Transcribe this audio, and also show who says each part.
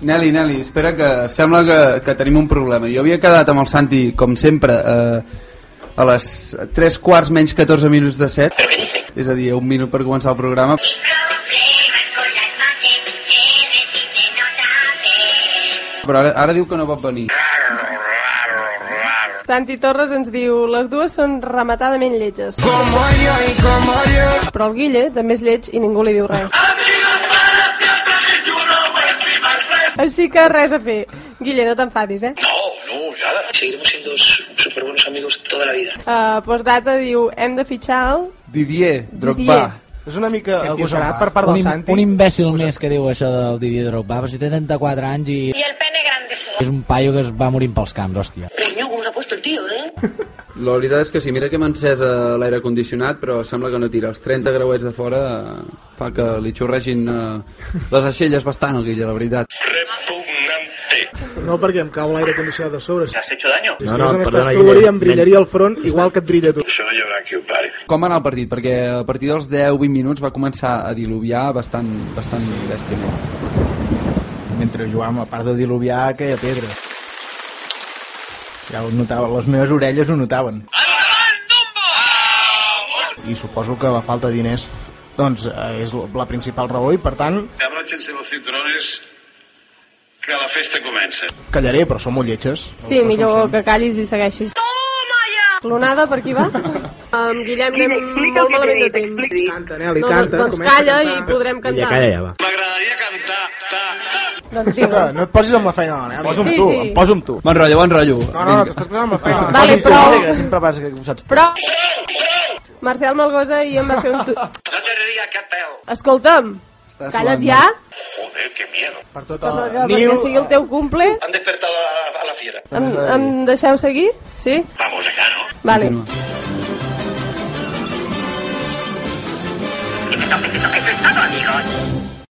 Speaker 1: Nelly, Nelly, espera que sembla que, que tenim un problema. Jo havia quedat amb el Santi, com sempre, eh, a les 3 quarts menys 14 minuts de 7. És a dir, un minut per començar el programa. Però ara, ara diu que no pot venir.
Speaker 2: Santi Torres ens diu les dues són rematadament lletges. Però el Guille també és lleig i ningú li diu res. Així que res a fer. Guille, no t'enfadis, eh?
Speaker 3: No, no, ya. Seguiremos siendo súper buenos amigos toda la vida.
Speaker 2: Uh, postdata diu, hem de fitxar el...
Speaker 1: Didier, Drogba.
Speaker 2: Didier.
Speaker 4: És una mica
Speaker 5: Aquest tio
Speaker 4: agosarat
Speaker 5: se'n va.
Speaker 4: per part
Speaker 5: un,
Speaker 4: del
Speaker 5: im-
Speaker 4: Santi.
Speaker 5: Un imbècil més que diu això del Didier Drogba, però si té 34 anys i... I el pene grande. És un paio que es va morint pels camps, hòstia.
Speaker 6: Coño, ¿cómo se ha puesto el tío, eh?
Speaker 1: La veritat és que sí, mira que m'ha encès eh, l'aire condicionat, però sembla que no tira. Els 30 grauets de fora eh, fa que li xorregin eh, les aixelles bastant, el Guille, la veritat.
Speaker 4: No, perquè em cau l'aire condicionat de sobre. Si
Speaker 7: ¿Has hecho daño?
Speaker 4: no,
Speaker 8: no,
Speaker 4: no, en
Speaker 8: perdona,
Speaker 4: estàs
Speaker 8: Guillem.
Speaker 4: proveria, em brillaria el front igual que et brilla tu.
Speaker 3: Se va a llevar aquí un par.
Speaker 1: Com va anar el partit? Perquè a partir dels 10-20 minuts va començar a diluviar bastant, bastant bèstia.
Speaker 8: mentre jugàvem a part de diluviar caia pedra ja ho notava, les meves orelles ho notaven
Speaker 4: I suposo que la falta de diners doncs, eh, és la principal raó i, per tant,
Speaker 3: Abróchense los cinturones que la festa comença.
Speaker 4: callaré, però som molt lletges.
Speaker 2: Sí, millor que callis i segueixis. Toma ja! L'onada per aquí va? Amb Guillem anem molt malament de temps.
Speaker 4: Canta, Nelly,
Speaker 2: No, doncs,
Speaker 4: canta.
Speaker 2: doncs
Speaker 4: comença a
Speaker 2: calla i
Speaker 4: cantar.
Speaker 2: podrem
Speaker 8: ja
Speaker 2: cantar.
Speaker 8: calla ja va
Speaker 3: M'agradaria cantar, ta, ta.
Speaker 2: Doncs
Speaker 4: Escolta,
Speaker 2: digue.
Speaker 4: no et posis amb la feina, Nelly.
Speaker 2: Sí,
Speaker 8: tu,
Speaker 2: sí.
Speaker 8: em poso amb tu
Speaker 1: Bon rotllo, bon rotllo.
Speaker 4: No, no, no, t'estàs posant amb la feina.
Speaker 2: Vale, prou,
Speaker 8: sempre vas que ho saps
Speaker 2: prou. Marcel Malgosa i em va fer un... Tu...
Speaker 3: No tindria cap pèl.
Speaker 2: Escolta'm,
Speaker 1: Estàs suant,
Speaker 2: calla't
Speaker 1: eh?
Speaker 2: ja,
Speaker 3: Joder, qué miedo.
Speaker 4: Per tot
Speaker 2: que,
Speaker 4: el...
Speaker 2: que, perquè sigui el teu cumple.
Speaker 3: Han despertado a la, a la fiera.
Speaker 2: Em, em deixeu seguir? Sí?
Speaker 3: Vamos acá, ¿no?
Speaker 2: Vale.
Speaker 1: Continua.